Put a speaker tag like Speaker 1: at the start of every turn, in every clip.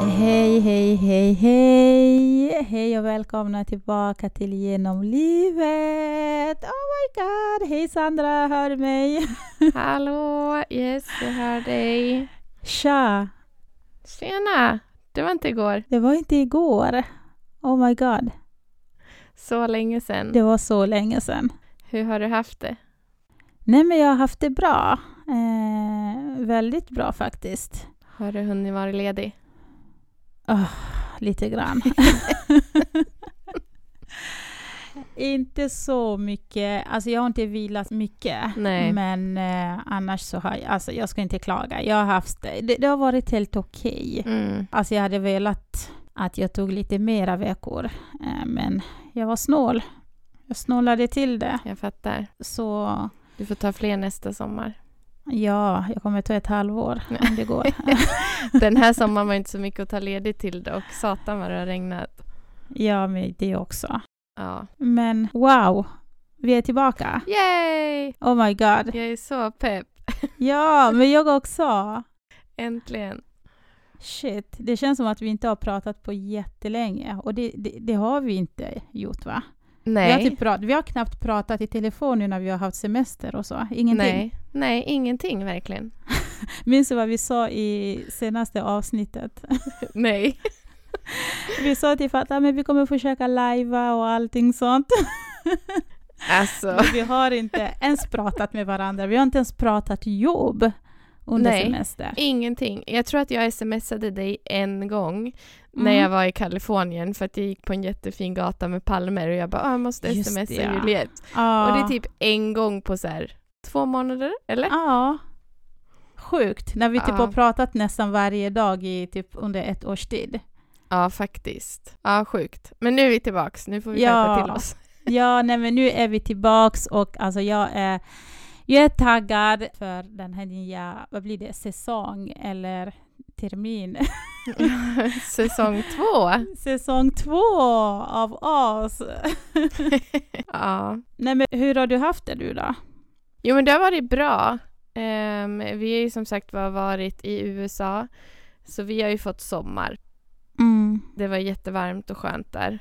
Speaker 1: Hej, hej, hej, hej! Hej och välkomna tillbaka till Genom livet! Oh my god! Hej Sandra, hör du mig?
Speaker 2: Hallå! Yes, jag hör dig.
Speaker 1: Tja!
Speaker 2: Tjena! Det var inte igår.
Speaker 1: Det var inte igår. Oh my god.
Speaker 2: Så länge sedan.
Speaker 1: Det var så länge sedan.
Speaker 2: Hur har du haft det?
Speaker 1: Nej, men jag har haft det bra. Eh, väldigt bra faktiskt.
Speaker 2: Har du hunnit vara ledig?
Speaker 1: Lite grann. inte så mycket. Alltså jag har inte vilat mycket.
Speaker 2: Nej.
Speaker 1: Men eh, annars så har jag, alltså jag ska inte klaga. Jag har haft, det, det har varit helt okej.
Speaker 2: Mm.
Speaker 1: Alltså jag hade velat att jag tog lite mera veckor. Eh, men jag var snål. Jag snålade till det.
Speaker 2: Jag fattar.
Speaker 1: Så
Speaker 2: Du får ta fler nästa sommar.
Speaker 1: ja, jag kommer ta ett halvår om det går.
Speaker 2: Den här sommaren var inte så mycket att ta ledigt till dock. Satan vad det har regnat.
Speaker 1: ja, men det också.
Speaker 2: Ja.
Speaker 1: Men wow, vi är tillbaka.
Speaker 2: Yay!
Speaker 1: Oh my god.
Speaker 2: Jag är så pepp.
Speaker 1: Ja, men jag också.
Speaker 2: Äntligen.
Speaker 1: Shit, det känns som att vi inte har pratat på jättelänge. Och det, det, det har vi inte gjort, va? Vi har,
Speaker 2: Nej.
Speaker 1: typ prat, vi har knappt pratat i telefon nu när vi har haft semester och så. Ingenting.
Speaker 2: Nej. Nej, ingenting verkligen.
Speaker 1: Minns du vad vi sa i senaste avsnittet?
Speaker 2: Nej.
Speaker 1: Vi sa typ att ah, men vi kommer försöka lajva och allting sånt.
Speaker 2: Alltså.
Speaker 1: Men vi har inte ens pratat med varandra. Vi har inte ens pratat jobb under
Speaker 2: Nej.
Speaker 1: semester.
Speaker 2: Ingenting. Jag tror att jag smsade dig en gång när
Speaker 1: Mm.
Speaker 2: jag var i Kalifornien för att jag gick på en jättefin gata med palmer och jag bara "Ah, jag måste
Speaker 1: Just
Speaker 2: smsa
Speaker 1: det, ja.
Speaker 2: Juliette.
Speaker 1: Ja.
Speaker 2: Och det är typ en gång på så här två månader, eller?
Speaker 1: Ja. Sjukt, när vi typ
Speaker 2: Ja.
Speaker 1: har pratat nästan varje dag i typ under ett års tid.
Speaker 2: Ja, faktiskt. Ja, sjukt. Men nu är vi tillbaks, nu får vi
Speaker 1: Ja.
Speaker 2: skärpa till oss.
Speaker 1: Ja, nej men nu är vi tillbaks och alltså jag är, jag är taggad för den här nya, vad blir det, säsong eller termin?
Speaker 2: Säsong två.
Speaker 1: Säsong två av oss!
Speaker 2: Ja.
Speaker 1: Nej men hur har du haft det du då?
Speaker 2: Jo, men det har varit bra. Ehm, vi har ju som sagt var varit i USA, så vi har ju fått sommar.
Speaker 1: Mm,
Speaker 2: Det var jättevarmt och skönt där.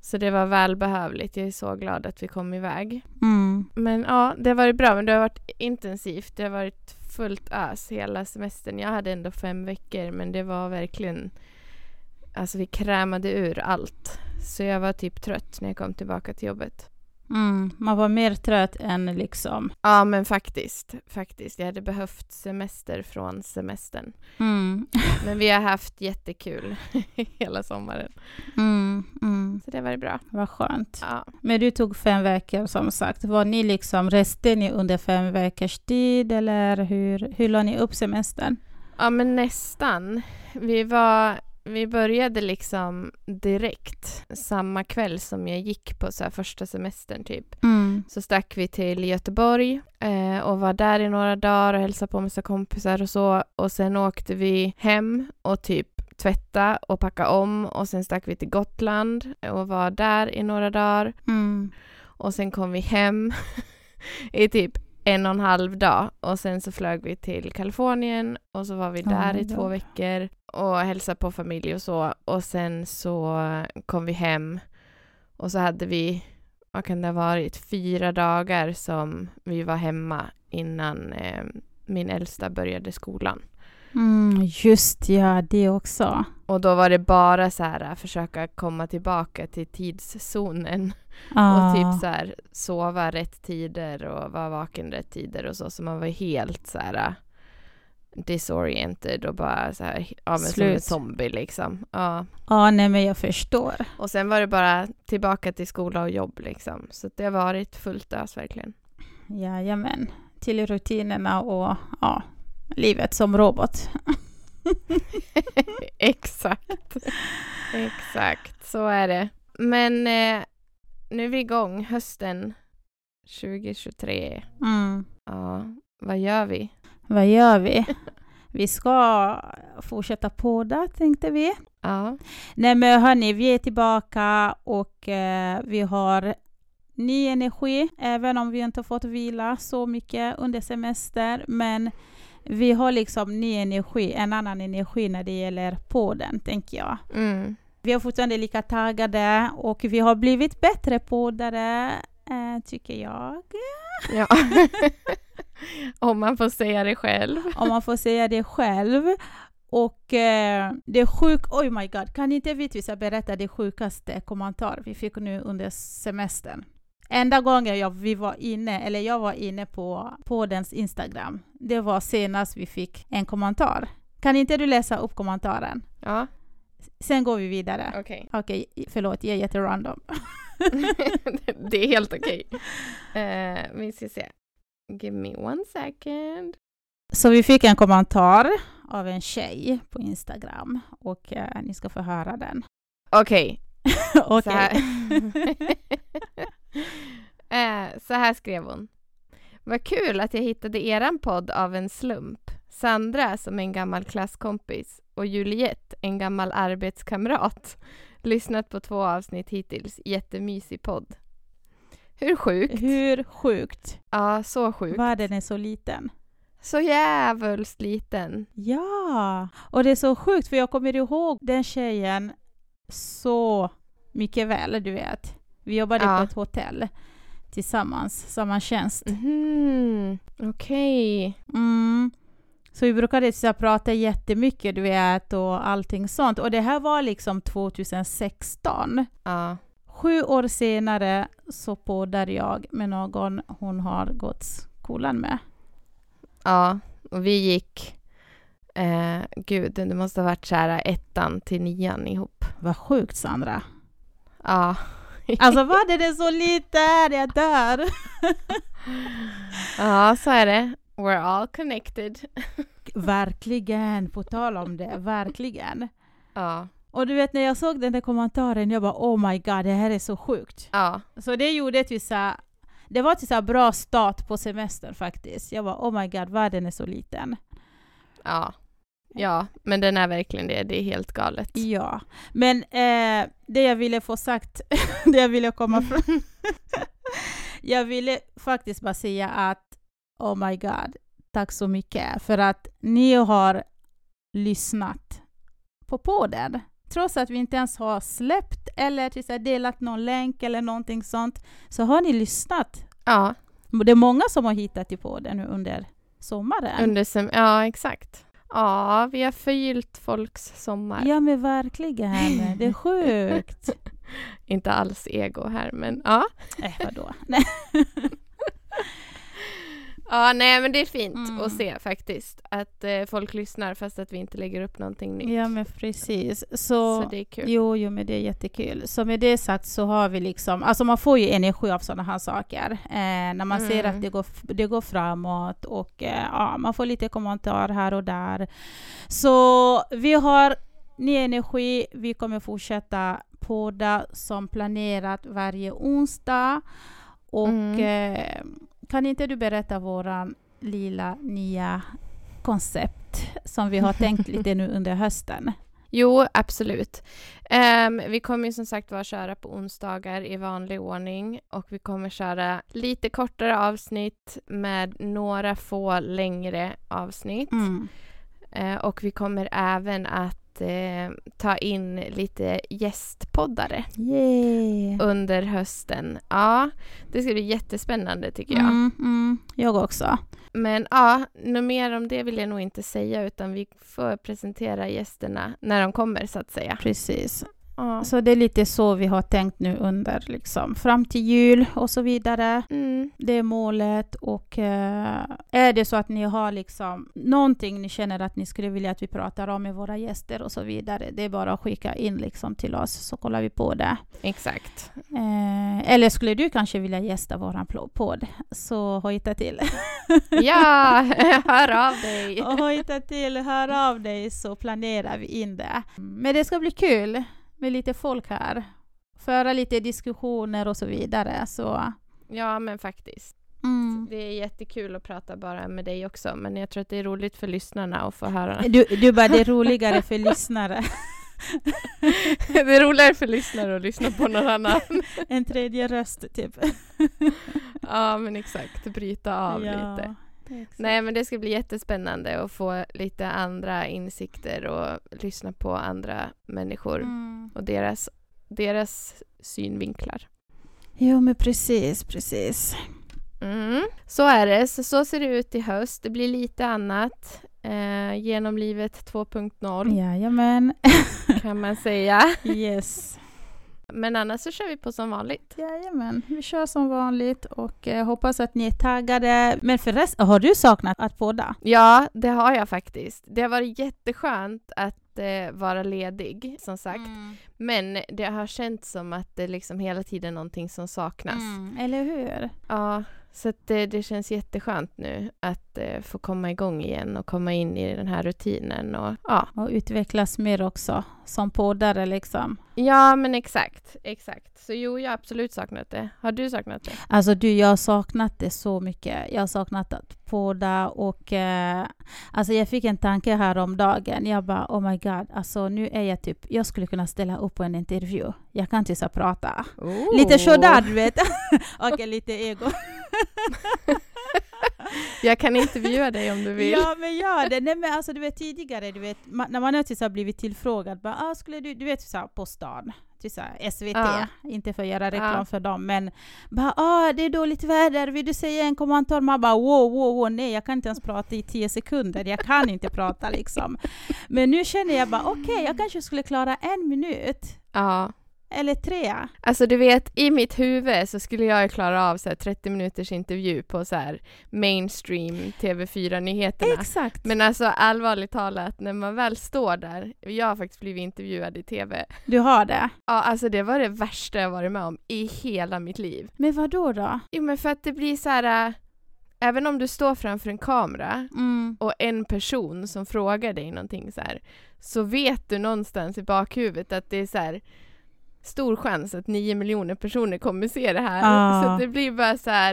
Speaker 2: Så det var välbehövligt. Jag är så glad att vi kom iväg.
Speaker 1: mm,
Speaker 2: Men ja, det har varit bra. Men det har varit intensivt. Det har varit fullt ös hela semestern. Jag hade ändå fem veckor, men det var verkligen... Alltså vi krämade ur allt. Så jag var typ trött när jag kom tillbaka till jobbet.
Speaker 1: mm. Man var mer trött än liksom...
Speaker 2: Ja, men faktiskt. Faktiskt. Jag hade behövt semester från semestern.
Speaker 1: mm,
Speaker 2: Men vi har haft jättekul hela sommaren. Så det var bra.
Speaker 1: mm, Vad skönt.
Speaker 2: Ja.
Speaker 1: Men du tog fem veckor som sagt. Var ni liksom, reste ni under fem veckors tid eller hur, hur la ni upp semestern?
Speaker 2: Ja, men nästan. Vi, var, vi började liksom direkt samma kväll som jag gick på så här första semestern typ.
Speaker 1: Mm.
Speaker 2: Så stack vi till Göteborg eh, och var där i några dagar och hälsade på massa kompisar och så. Och sen åkte vi hem och typ tvätta och packa om och sen stack vi till Gotland och var där i några dagar.
Speaker 1: Mm,
Speaker 2: Och sen kom vi hem i typ en och en halv dag och sen så flög vi till Kalifornien och så var vi
Speaker 1: Oh
Speaker 2: där
Speaker 1: my
Speaker 2: i två
Speaker 1: God.
Speaker 2: veckor och hälsade på familj och så och sen så kom vi hem och så hade vi, vad kan det ha varit, fyra dagar som vi var hemma innan eh, min äldsta började skolan.
Speaker 1: Mm, just ja, det också.
Speaker 2: Och då var det bara så här försöka komma tillbaka till tidszonen
Speaker 1: Ah.
Speaker 2: Och typ så här, sova rätt tider och vara vaken rätt tider och så. Så man var helt så här äh, disoriented och bara så här, ja men som en
Speaker 1: Slut.
Speaker 2: zombie liksom. Ja.
Speaker 1: Ja, nej men jag förstår.
Speaker 2: Och sen var det bara tillbaka till skola och jobb liksom. Så det har varit fullt ös verkligen.
Speaker 1: Jajamän. Till rutinerna och ja, livet som robot.
Speaker 2: Exakt. Exakt, så är det. Men eh, nu är vi igång hösten 2023.
Speaker 1: Mm.
Speaker 2: Ja, vad gör vi?
Speaker 1: Vad gör vi? Vi ska fortsätta podda, tänkte vi.
Speaker 2: Ja,
Speaker 1: Nej men hörni, vi är tillbaka och eh, vi har ny energi, även om vi inte fått vila så mycket under semester. Men vi har liksom ny energi, en annan energi när det gäller podden, tänker jag.
Speaker 2: Mm.
Speaker 1: Vi är fortfarande lika taggade och vi har blivit bättre poddare, eh, tycker jag.
Speaker 2: Ja. Om man får säga det själv.
Speaker 1: om man får säga det själv. Och eh, det sjuk... Oj my god, kan inte Vitvisa berätta det sjukaste kommentar vi fick nu under semestern? Enda gången jag, vi var inne, eller jag var inne på poddens Instagram, det var senast vi fick en kommentar. Kan inte du läsa upp kommentaren?
Speaker 2: Ja,
Speaker 1: Sen går vi vidare.
Speaker 2: okej.
Speaker 1: Okej, förlåt, jag är jätterandom.
Speaker 2: det är helt okej. Eh, vi ska se. Give me one second.
Speaker 1: Så vi fick en kommentar av en tjej på Instagram och eh, ni ska få höra den.
Speaker 2: Okej, så
Speaker 1: Okej.
Speaker 2: här. Eh, så här skrev hon. Vad kul att jag hittade eran podd av en slump. Sandra som en gammal klasskompis och Juliette en gammal arbetskamrat. Lyssnat på två avsnitt hittills. Jättemysig podd. Hur sjukt?
Speaker 1: Hur sjukt?
Speaker 2: Ja, så sjukt.
Speaker 1: Världen är så liten.
Speaker 2: Så jävulst liten.
Speaker 1: Ja, och det är så sjukt för jag kommer ihåg den tjejen så mycket väl, du vet. Vi jobbade
Speaker 2: Ja. Mm.
Speaker 1: på ett hotell tillsammans, samma tjänst.
Speaker 2: Mhm, Okej.
Speaker 1: Mm. Så vi brukade så här, prata jättemycket, du vet, och allting sånt. Och det här var liksom 2016.
Speaker 2: Ja.
Speaker 1: Sju år senare så poddar jag med någon hon har gått skolan med.
Speaker 2: ja, och vi gick... Eh, gud, det måste ha varit så här ettan till nian ihop.
Speaker 1: Vad sjukt, Sandra.
Speaker 2: Ja.
Speaker 1: Alltså, världen är så liten, jag dör!
Speaker 2: ja, så är det. We're all connected.
Speaker 1: Verkligen, på tal om det, verkligen.
Speaker 2: Ja.
Speaker 1: Och du vet när jag såg den där kommentaren, jag bara oh my god, det här är så sjukt.
Speaker 2: Ja.
Speaker 1: Så det gjorde att vi så det var ett så här bra start på semestern faktiskt. Jag bara oh my god, världen är så liten.
Speaker 2: Ja. Ja, men den är verkligen det. Det är helt galet.
Speaker 1: Ja, men eh, det jag ville få sagt, det jag ville komma från. jag ville faktiskt bara säga att oh my god, tack så mycket för att ni har lyssnat på podden. Trots att vi inte ens har släppt eller till så här delat någon länk eller någonting sånt, så har ni lyssnat.
Speaker 2: Ja,
Speaker 1: Det är många som har hittat till podden nu under sommaren.
Speaker 2: under sem- Ja, exakt. Ja, vi har förgyllt folks sommar.
Speaker 1: ja men verkligen, det är sjukt.
Speaker 2: Inte alls ego här, men ja.
Speaker 1: eh, vadå?
Speaker 2: Ja, nej men det är fint
Speaker 1: Mm.
Speaker 2: att se faktiskt. Att eh, folk lyssnar fast att vi inte lägger upp någonting nytt.
Speaker 1: Ja, men precis. Så,
Speaker 2: Så det är kul.
Speaker 1: jo, jo, men det är jättekul. Så med det sagt så har vi liksom, alltså man får ju energi av sådana här saker. Eh, när man ser
Speaker 2: Mm.
Speaker 1: att det går, f- det går framåt och eh, ja, man får lite kommentarer här och där. Så vi har ny energi, vi kommer fortsätta podda som planerat varje onsdag. Och eh, kan inte du berätta våran lilla nya koncept som vi har tänkt lite nu under hösten?
Speaker 2: Jo, absolut. Ehm, vi kommer ju som sagt vara köra på onsdagar i vanlig ordning och vi kommer köra lite kortare avsnitt med några få längre avsnitt.
Speaker 1: Mm.
Speaker 2: Eh, och vi kommer även att eh, ta in lite gästpoddare
Speaker 1: Mm. Yeah.
Speaker 2: under hösten. Ja, det ska bli jättespännande tycker jag.
Speaker 1: Mm, mm, jag också.
Speaker 2: Men ja, något mer om det vill jag nog inte säga utan vi får presentera gästerna när de kommer så att säga.
Speaker 1: Precis.
Speaker 2: Ja.
Speaker 1: Så det är lite så vi har tänkt nu under liksom fram till jul och så vidare.
Speaker 2: Mm.
Speaker 1: Det är målet och eh, är det så att ni har liksom någonting ni känner att ni skulle vilja att vi pratar om med våra gäster och så vidare. Det är bara att skicka in liksom till oss så kollar vi på det.
Speaker 2: Exakt.
Speaker 1: Eh, eller skulle du kanske vilja gästa våran pl- podd så hojta till.
Speaker 2: Ja, hör av dig.
Speaker 1: och hojta till, hör av dig så planerar vi in det. Men det ska bli kul med lite folk här. Föra lite diskussioner och så vidare. Så,
Speaker 2: Ja, men faktiskt.
Speaker 1: mm.
Speaker 2: Det är jättekul att prata bara med dig också men jag tror att det är roligt för lyssnarna att få höra.
Speaker 1: du, du bara, det är roligare för lyssnare
Speaker 2: det är roligare för lyssnare att lyssna på någon annan.
Speaker 1: en tredje röst typ.
Speaker 2: Ja, men exakt. Bryta av lite.
Speaker 1: Exakt.
Speaker 2: Nej men det ska bli jättespännande att få lite andra insikter och lyssna på andra människor
Speaker 1: Mm.
Speaker 2: och deras, deras synvinklar.
Speaker 1: Jo, men precis, precis.
Speaker 2: Mm. Så är det, så, så ser det ut i höst. Det blir lite annat. Eh, genomlivet 2.0
Speaker 1: Jajamän.
Speaker 2: kan man säga.
Speaker 1: Yes.
Speaker 2: Men annars så kör vi på som vanligt.
Speaker 1: Jajamän, vi kör som vanligt och eh, hoppas att ni är taggade. Men förresten, har du saknat att podda?
Speaker 2: Ja, det har jag faktiskt. Det har varit jätteskönt att eh, vara ledig, som sagt.
Speaker 1: Mm.
Speaker 2: Men det har känts som att det liksom hela tiden är någonting som saknas.
Speaker 1: Mm, eller hur?
Speaker 2: Ja, så att eh, det, det känns jätteskönt nu att eh, få komma igång igen och komma in i den här rutinen. Och, ja.
Speaker 1: Och utvecklas mer också som poddare liksom.
Speaker 2: ja, men exakt. Exakt. Så jo, jag har absolut saknat det. Har du saknat det?
Speaker 1: Alltså du, jag har saknat det så mycket. Jag har saknat att podda och eh, alltså jag fick en tanke här om dagen. Jag bara oh my god, alltså nu är jag typ, jag skulle kunna ställa upp på en intervju. Jag kan inte så prata. Lite sådär du vet. och lite ego.
Speaker 2: Jag kan intervjua dig om du vill.
Speaker 1: Ja men gör det! Nej men alltså du vet tidigare, du vet, ma- när man har typ så här blivit tillfrågad, bara, ah, skulle du, du vet så här, på stan, typ så här, SVT,
Speaker 2: Ja.
Speaker 1: inte för att göra reklam
Speaker 2: Ja.
Speaker 1: för dem, men bara ah, det är dåligt väder, vill du säga en kommentar? Man bara wow, wow, wow, nej jag kan inte ens prata i tio sekunder, jag kan inte prata liksom. Men nu känner jag bara okej, jag kanske skulle klara en minut,
Speaker 2: Ja.
Speaker 1: eller tre.
Speaker 2: Alltså du vet, i mitt huvud så skulle jag ju klara av så här 30 minuters intervju på så här mainstream TV4-nyheterna.
Speaker 1: Exakt!
Speaker 2: Men alltså allvarligt talat, när man väl står där, jag har faktiskt blivit intervjuad i TV.
Speaker 1: Du har det.
Speaker 2: Ja, alltså det var det värsta jag varit med om i hela mitt liv.
Speaker 1: Men vad då? då?
Speaker 2: Jo men för att det blir så här, äh, även om du står framför en kamera
Speaker 1: Mm.
Speaker 2: och en person som frågar dig någonting så här, så vet du någonstans i bakhuvudet att det är så här stor chans att nio miljoner personer kommer se det här.
Speaker 1: Ja.
Speaker 2: Så att det blir bara så här,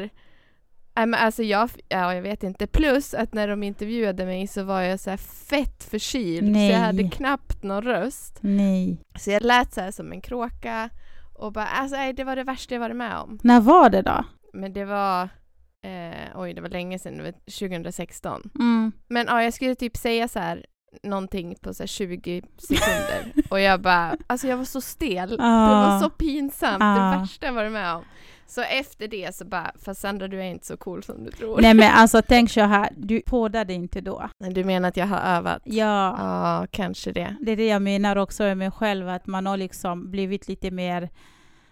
Speaker 2: Nej men alltså jag, ja, jag vet inte. Plus att när de intervjuade mig så var jag så här fett förkyld så jag hade
Speaker 1: Nej.
Speaker 2: knappt någon röst.
Speaker 1: Nej.
Speaker 2: Så jag lät så här som en kråka och bara, alltså nej, det var det värsta jag varit med om.
Speaker 1: När var det då?
Speaker 2: Men det var, eh, oj det var länge sedan, det var 2016.
Speaker 1: Mm.
Speaker 2: Men ja, jag skulle typ säga så här någonting på så här 20 sekunder och jag bara, alltså jag var så stel. Det var så pinsamt,
Speaker 1: Ah.
Speaker 2: det värsta jag varit med om. Så efter det så bara, fast Sandra du är inte så cool som du tror.
Speaker 1: Nej men alltså tänk så här, du poddade inte då.
Speaker 2: Men Du menar att jag har övat?
Speaker 1: Ja,
Speaker 2: Ja, kanske det.
Speaker 1: det är det jag menar också med mig själv, att man har liksom blivit lite mer,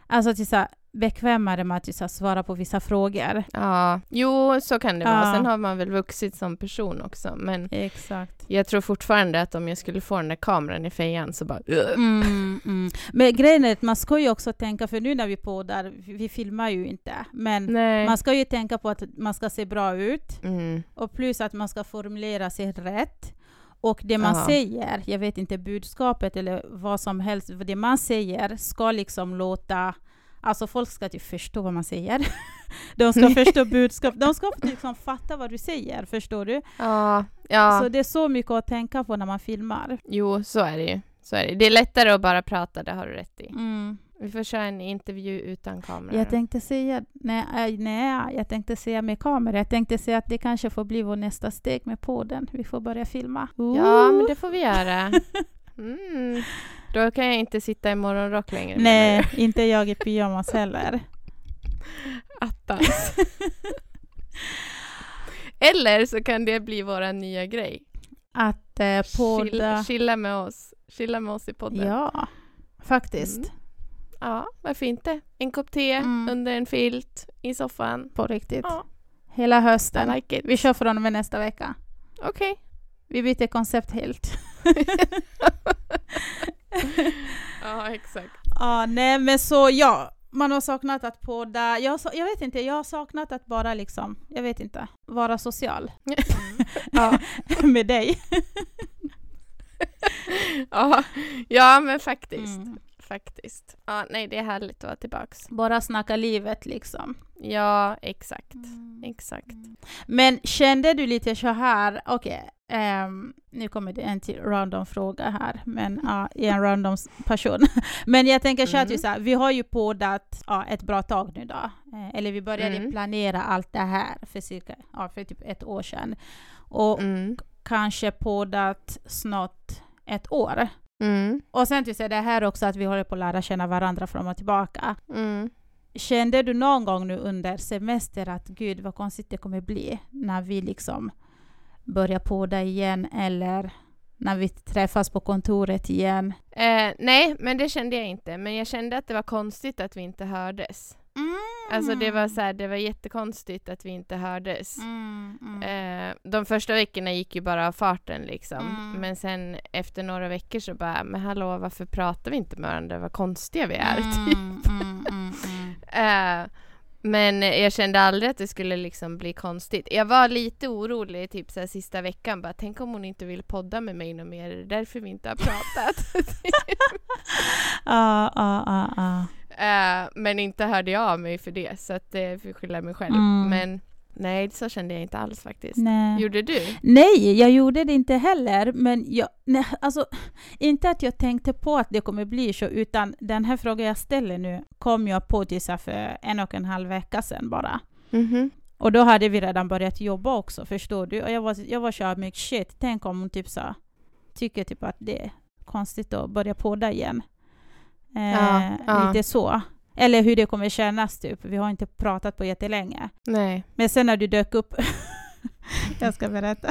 Speaker 1: alltså till så här, bekvämare med att till så här, svara på vissa frågor.
Speaker 2: Ja, jo så kan det
Speaker 1: Ja.
Speaker 2: vara. Sen har man väl vuxit som person också men
Speaker 1: Exakt.
Speaker 2: Jag tror fortfarande att om jag skulle få den där kameran i fejan så bara...
Speaker 1: Mm, mm. Men grejen är att man ska ju också tänka, för nu när vi poddar, vi vi filmar ju inte, men
Speaker 2: Nej.
Speaker 1: man ska ju tänka på att man ska se bra ut
Speaker 2: Mm.
Speaker 1: och plus att man ska formulera sig rätt. Och det man
Speaker 2: Ja.
Speaker 1: säger, jag vet inte budskapet eller vad som helst, det man säger ska liksom låta Alltså folk ska typ förstå vad man säger. De ska förstå budskap. De ska liksom fatta vad du säger, förstår du?
Speaker 2: Ja, ja.
Speaker 1: Så det är så mycket att tänka på när man filmar.
Speaker 2: jo så är det ju. Så är det. det är lättare att bara prata, det har du rätt i.
Speaker 1: Mm.
Speaker 2: Vi får köra en intervju utan kamera.
Speaker 1: Jag tänkte säga, nej, äh, nej, jag tänkte säga med kamera. Jag tänkte säga att det kanske får bli vår nästa steg med podden. Vi får börja filma.
Speaker 2: Ja, men det får vi göra. Mm. Då kan jag inte sitta i morgonrock längre. menar
Speaker 1: Nej,
Speaker 2: du?
Speaker 1: inte jag i pyjamas heller.
Speaker 2: Attans. Eller så kan det bli vår nya grej.
Speaker 1: Att eh, podda...
Speaker 2: Chill, chilla med oss. Chilla med oss i podden.
Speaker 1: Ja, faktiskt.
Speaker 2: Mm. Ja, varför inte? En kopp te
Speaker 1: Mm.
Speaker 2: under en filt i soffan.
Speaker 1: På riktigt.
Speaker 2: Ja.
Speaker 1: Hela
Speaker 2: I
Speaker 1: hösten.
Speaker 2: like it.
Speaker 1: Vi kör från och med nästa vecka.
Speaker 2: Okej.
Speaker 1: Vi byter koncept helt.
Speaker 2: Ja, exakt.
Speaker 1: Ja, nej men så ja. Man har saknat att podda. Jag, har sa- jag vet inte, jag har saknat att bara liksom, jag vet inte, vara social
Speaker 2: Ja,
Speaker 1: Mm. med dig.
Speaker 2: ja. ja men faktiskt.
Speaker 1: Mm.
Speaker 2: faktiskt. Ja, nej, det är härligt att vara tillbaks.
Speaker 1: Bara snacka livet liksom.
Speaker 2: Ja, exakt.
Speaker 1: Mm.
Speaker 2: Exakt.
Speaker 1: Men kände du lite så här, okej, ehm, nu kommer det en till random fråga här, men ja, jag är en random s- person. men jag tänker så här,
Speaker 2: Mm.
Speaker 1: typ så här, vi har ju poddat ja, ett bra tag nu då, eh, eller vi började
Speaker 2: Mm.
Speaker 1: planera allt det här för cirka, ja, för typ ett år sedan. Och
Speaker 2: Mm.
Speaker 1: kanske poddat snart ett år.
Speaker 2: Mm.
Speaker 1: Och sen typ så här, det här också att vi håller på att lära känna varandra fram och tillbaka.
Speaker 2: Mm.
Speaker 1: Kände du någon gång nu under semester att gud vad konstigt det kommer bli när vi liksom börjar podda igen eller när vi träffas på kontoret igen?
Speaker 2: Eh, nej, men det kände jag inte. Men jag kände att det var konstigt att vi inte hördes. Alltså det var så här, det var jättekonstigt att vi inte hördes.
Speaker 1: Mm, mm.
Speaker 2: Eh, de första veckorna gick ju bara av farten liksom.
Speaker 1: Mm.
Speaker 2: Men sen efter några veckor så bara, men hallå varför pratar vi inte med varandra? Vad konstiga vi är. typ.
Speaker 1: Mm, mm, mm, mm.
Speaker 2: Eh, men jag kände aldrig att det skulle liksom bli konstigt. Jag var lite orolig typ så här, sista veckan. Bara, Tänk om hon inte vill podda med mig något mer. Är det därför vi inte har pratat?
Speaker 1: Ja, ja, ja, ja.
Speaker 2: Eh, men inte hörde jag av mig för det. Så att det får jag skylla mig själv.
Speaker 1: Mm.
Speaker 2: Men nej, så kände jag inte alls faktiskt.
Speaker 1: Nej.
Speaker 2: Gjorde du?
Speaker 1: Nej, jag gjorde det inte heller. Men jag, nej, alltså, inte att jag tänkte på att det kommer bli så, utan den här frågan jag ställer nu kom jag på till så här för en och en halv vecka sedan bara.
Speaker 2: Mhm.
Speaker 1: Och då hade vi redan börjat jobba också, förstår du? Och jag var, jag var så här, men shit, tänk om hon typ så här, tycker typ att det är konstigt att börja podda igen. Eh,
Speaker 2: Ja, ja.
Speaker 1: Lite så. Eller hur det kommer kännas typ. Vi har inte pratat på jättelänge.
Speaker 2: Nej.
Speaker 1: Men sen när du dök upp Jag ska berätta.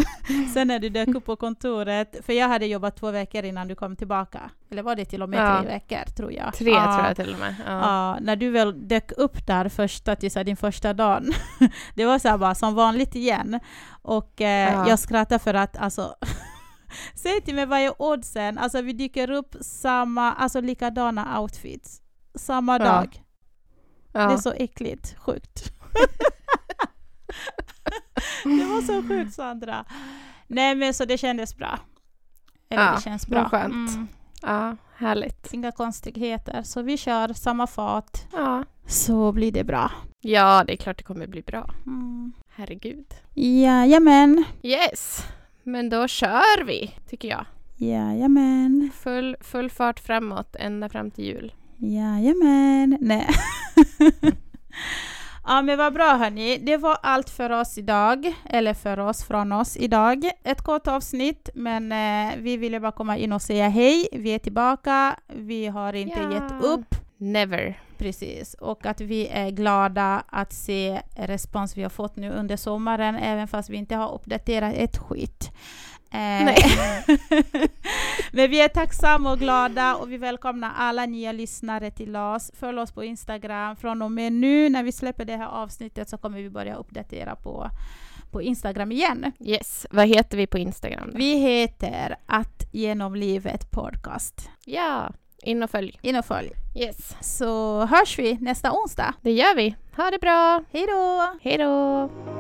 Speaker 1: Sen när du dök upp på kontoret, för jag hade jobbat två veckor innan du kom tillbaka. Eller var det till och med
Speaker 2: Ja.
Speaker 1: tre veckor tror jag?
Speaker 2: Tre
Speaker 1: Ja.
Speaker 2: tror jag till och med. Ja.
Speaker 1: Ja, när du väl dök upp där första, till så här, din första dag, det var så här bara som vanligt igen. Och eh,
Speaker 2: Ja.
Speaker 1: jag skrattar för att alltså, säg till mig vad är oddsen? Alltså vi dyker upp samma, alltså likadana outfits. Samma
Speaker 2: Ja.
Speaker 1: dag.
Speaker 2: Ja.
Speaker 1: Det är så äckligt, sjukt. det var så sjukt Sandra. Nej men så det kändes bra. Eller
Speaker 2: Ja,
Speaker 1: det känns
Speaker 2: vad
Speaker 1: bra.
Speaker 2: skönt.
Speaker 1: Mm.
Speaker 2: ja, härligt.
Speaker 1: Inga konstigheter. Så vi kör samma fart
Speaker 2: Ja.
Speaker 1: så blir det bra.
Speaker 2: ja, det är klart det kommer bli bra.
Speaker 1: Mm.
Speaker 2: Herregud.
Speaker 1: Jajamän.
Speaker 2: Yes, men då kör vi, tycker jag.
Speaker 1: Jajamän.
Speaker 2: Full, full fart framåt ända fram till jul.
Speaker 1: Jajamän. Nej. ja men vad bra hörni. Det var allt för oss idag. Eller för oss, från oss idag. Ett kort avsnitt men eh, vi ville bara komma in och säga hej. Vi är tillbaka. Vi har inte
Speaker 2: Ja.
Speaker 1: gett upp.
Speaker 2: Never.
Speaker 1: Precis. Och att vi är glada att se respons vi har fått nu under sommaren även fast vi inte har uppdaterat ett skit. Eh,
Speaker 2: Nej.
Speaker 1: Men vi är tacksamma och glada och vi välkomnar alla nya lyssnare till oss. Följ oss på Instagram. Från och med nu när vi släpper det här avsnittet så kommer vi börja uppdatera på, på Instagram igen.
Speaker 2: Yes, vad heter vi på Instagram då?
Speaker 1: Vi heter att genom livet podcast.
Speaker 2: Ja, in och följ.
Speaker 1: In och följ.
Speaker 2: Yes,
Speaker 1: Så hörs vi nästa onsdag.
Speaker 2: det gör vi. Ha det bra.
Speaker 1: Hej då!
Speaker 2: Hej då.